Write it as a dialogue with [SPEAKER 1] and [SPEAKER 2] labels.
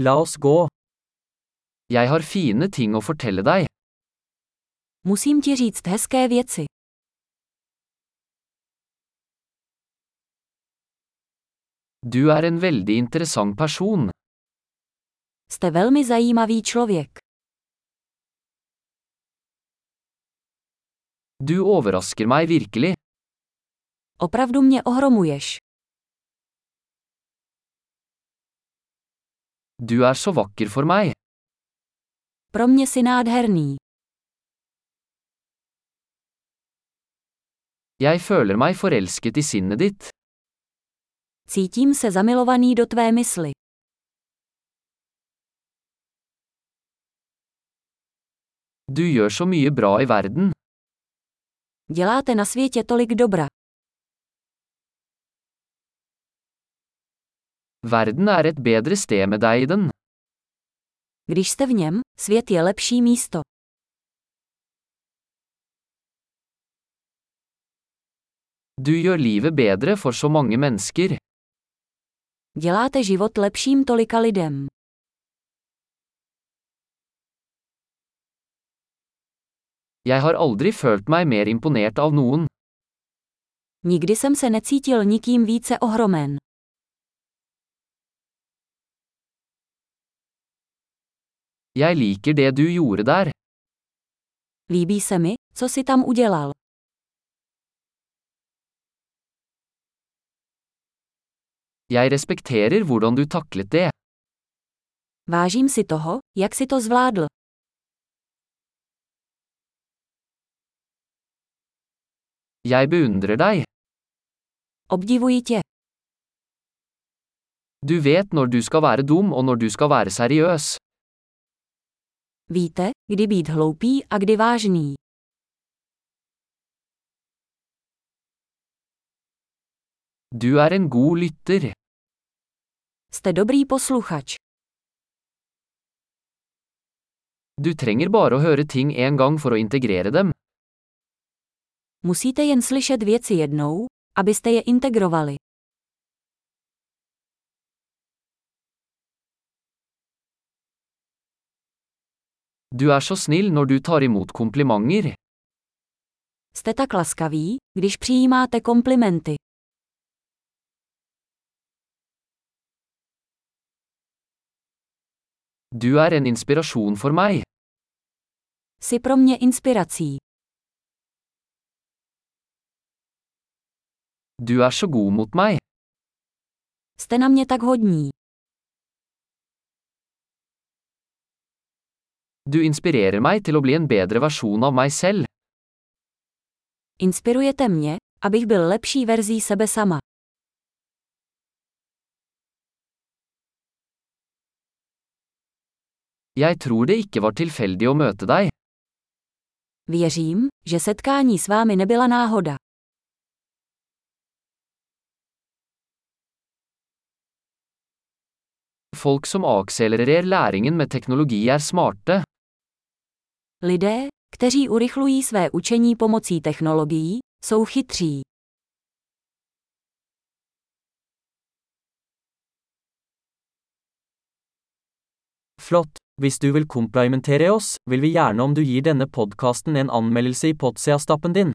[SPEAKER 1] La oss gå. Jeg har fine ting å fortelle deg.
[SPEAKER 2] Musím ti říct hezké věci.
[SPEAKER 1] Du er en veldig interessant person.
[SPEAKER 2] Jste velmi zajímavý člověk.
[SPEAKER 1] Du overrasker meg virkelig.
[SPEAKER 2] Opravdu mě ohromuješ.
[SPEAKER 1] Du er så vakker for meg.
[SPEAKER 2] Pro mě si nádherný.
[SPEAKER 1] Jeg føler meg forelsket i sinnet ditt.
[SPEAKER 2] Cítím se zamilovaný do tvé mysli.
[SPEAKER 1] Du gjør så mye bra i verden.
[SPEAKER 2] Děláte na světě tolik dobra.
[SPEAKER 1] Verden er et bedre sted med deg i den.
[SPEAKER 2] Když jste v něm, svět je lepší místo.
[SPEAKER 1] Du gjør livet bedre for så mange mennesker.
[SPEAKER 2] Děláte život lepším tolika lidem.
[SPEAKER 1] Jeg har aldri følt meg mer imponert av noen.
[SPEAKER 2] Nikdy jsem se necítil nikým více ohromen.
[SPEAKER 1] Jeg liker det du gjorde der.
[SPEAKER 2] Líbí se mi, co si tam udělal.
[SPEAKER 1] Jeg respekterer hvordan du taklet det.
[SPEAKER 2] Vážím si toho, jak si to zvládl.
[SPEAKER 1] Jeg beundrer deg.
[SPEAKER 2] Obdivuji tě.
[SPEAKER 1] Du vet når du skal være dum og når du skal være seriøs.
[SPEAKER 2] Víte, kdy být hloupý a kdy vážný.
[SPEAKER 1] Du er en god lytter.
[SPEAKER 2] Jste dobrý posluchač.
[SPEAKER 1] Du trenger bare å høre ting en gang for å integrere dem.
[SPEAKER 2] Musíte jen slyšet věci jednou, abyste je integrovali.
[SPEAKER 1] Du er så snill når du tar imot komplimenter.
[SPEAKER 2] Jste tak laskaví, když přijímáte komplimenty.
[SPEAKER 1] Du er en inspirasjon for meg.
[SPEAKER 2] Jsi pro mě inspirací.
[SPEAKER 1] Du er så god mot meg.
[SPEAKER 2] Jste na mě tak hodní.
[SPEAKER 1] Du inspirerer meg til å bli en bedre versjon av meg selv.
[SPEAKER 2] Inspirujete mě, abych byl lepší verzí sebe sama.
[SPEAKER 1] Jeg tror det ikke var tilfeldig å møte deg.
[SPEAKER 2] Věřím, že setkání s vámi nebyla náhoda.
[SPEAKER 1] Folk som akselererer læringen med teknologi er smarte.
[SPEAKER 2] Lidé, kteří urychlují své učení pomocí technologií, jsou chytří.
[SPEAKER 3] Flott! Hvis du vil komplimentere oss, vil vi gjerne om du gir denne podkasten en anmeldelse i Podseastappen din.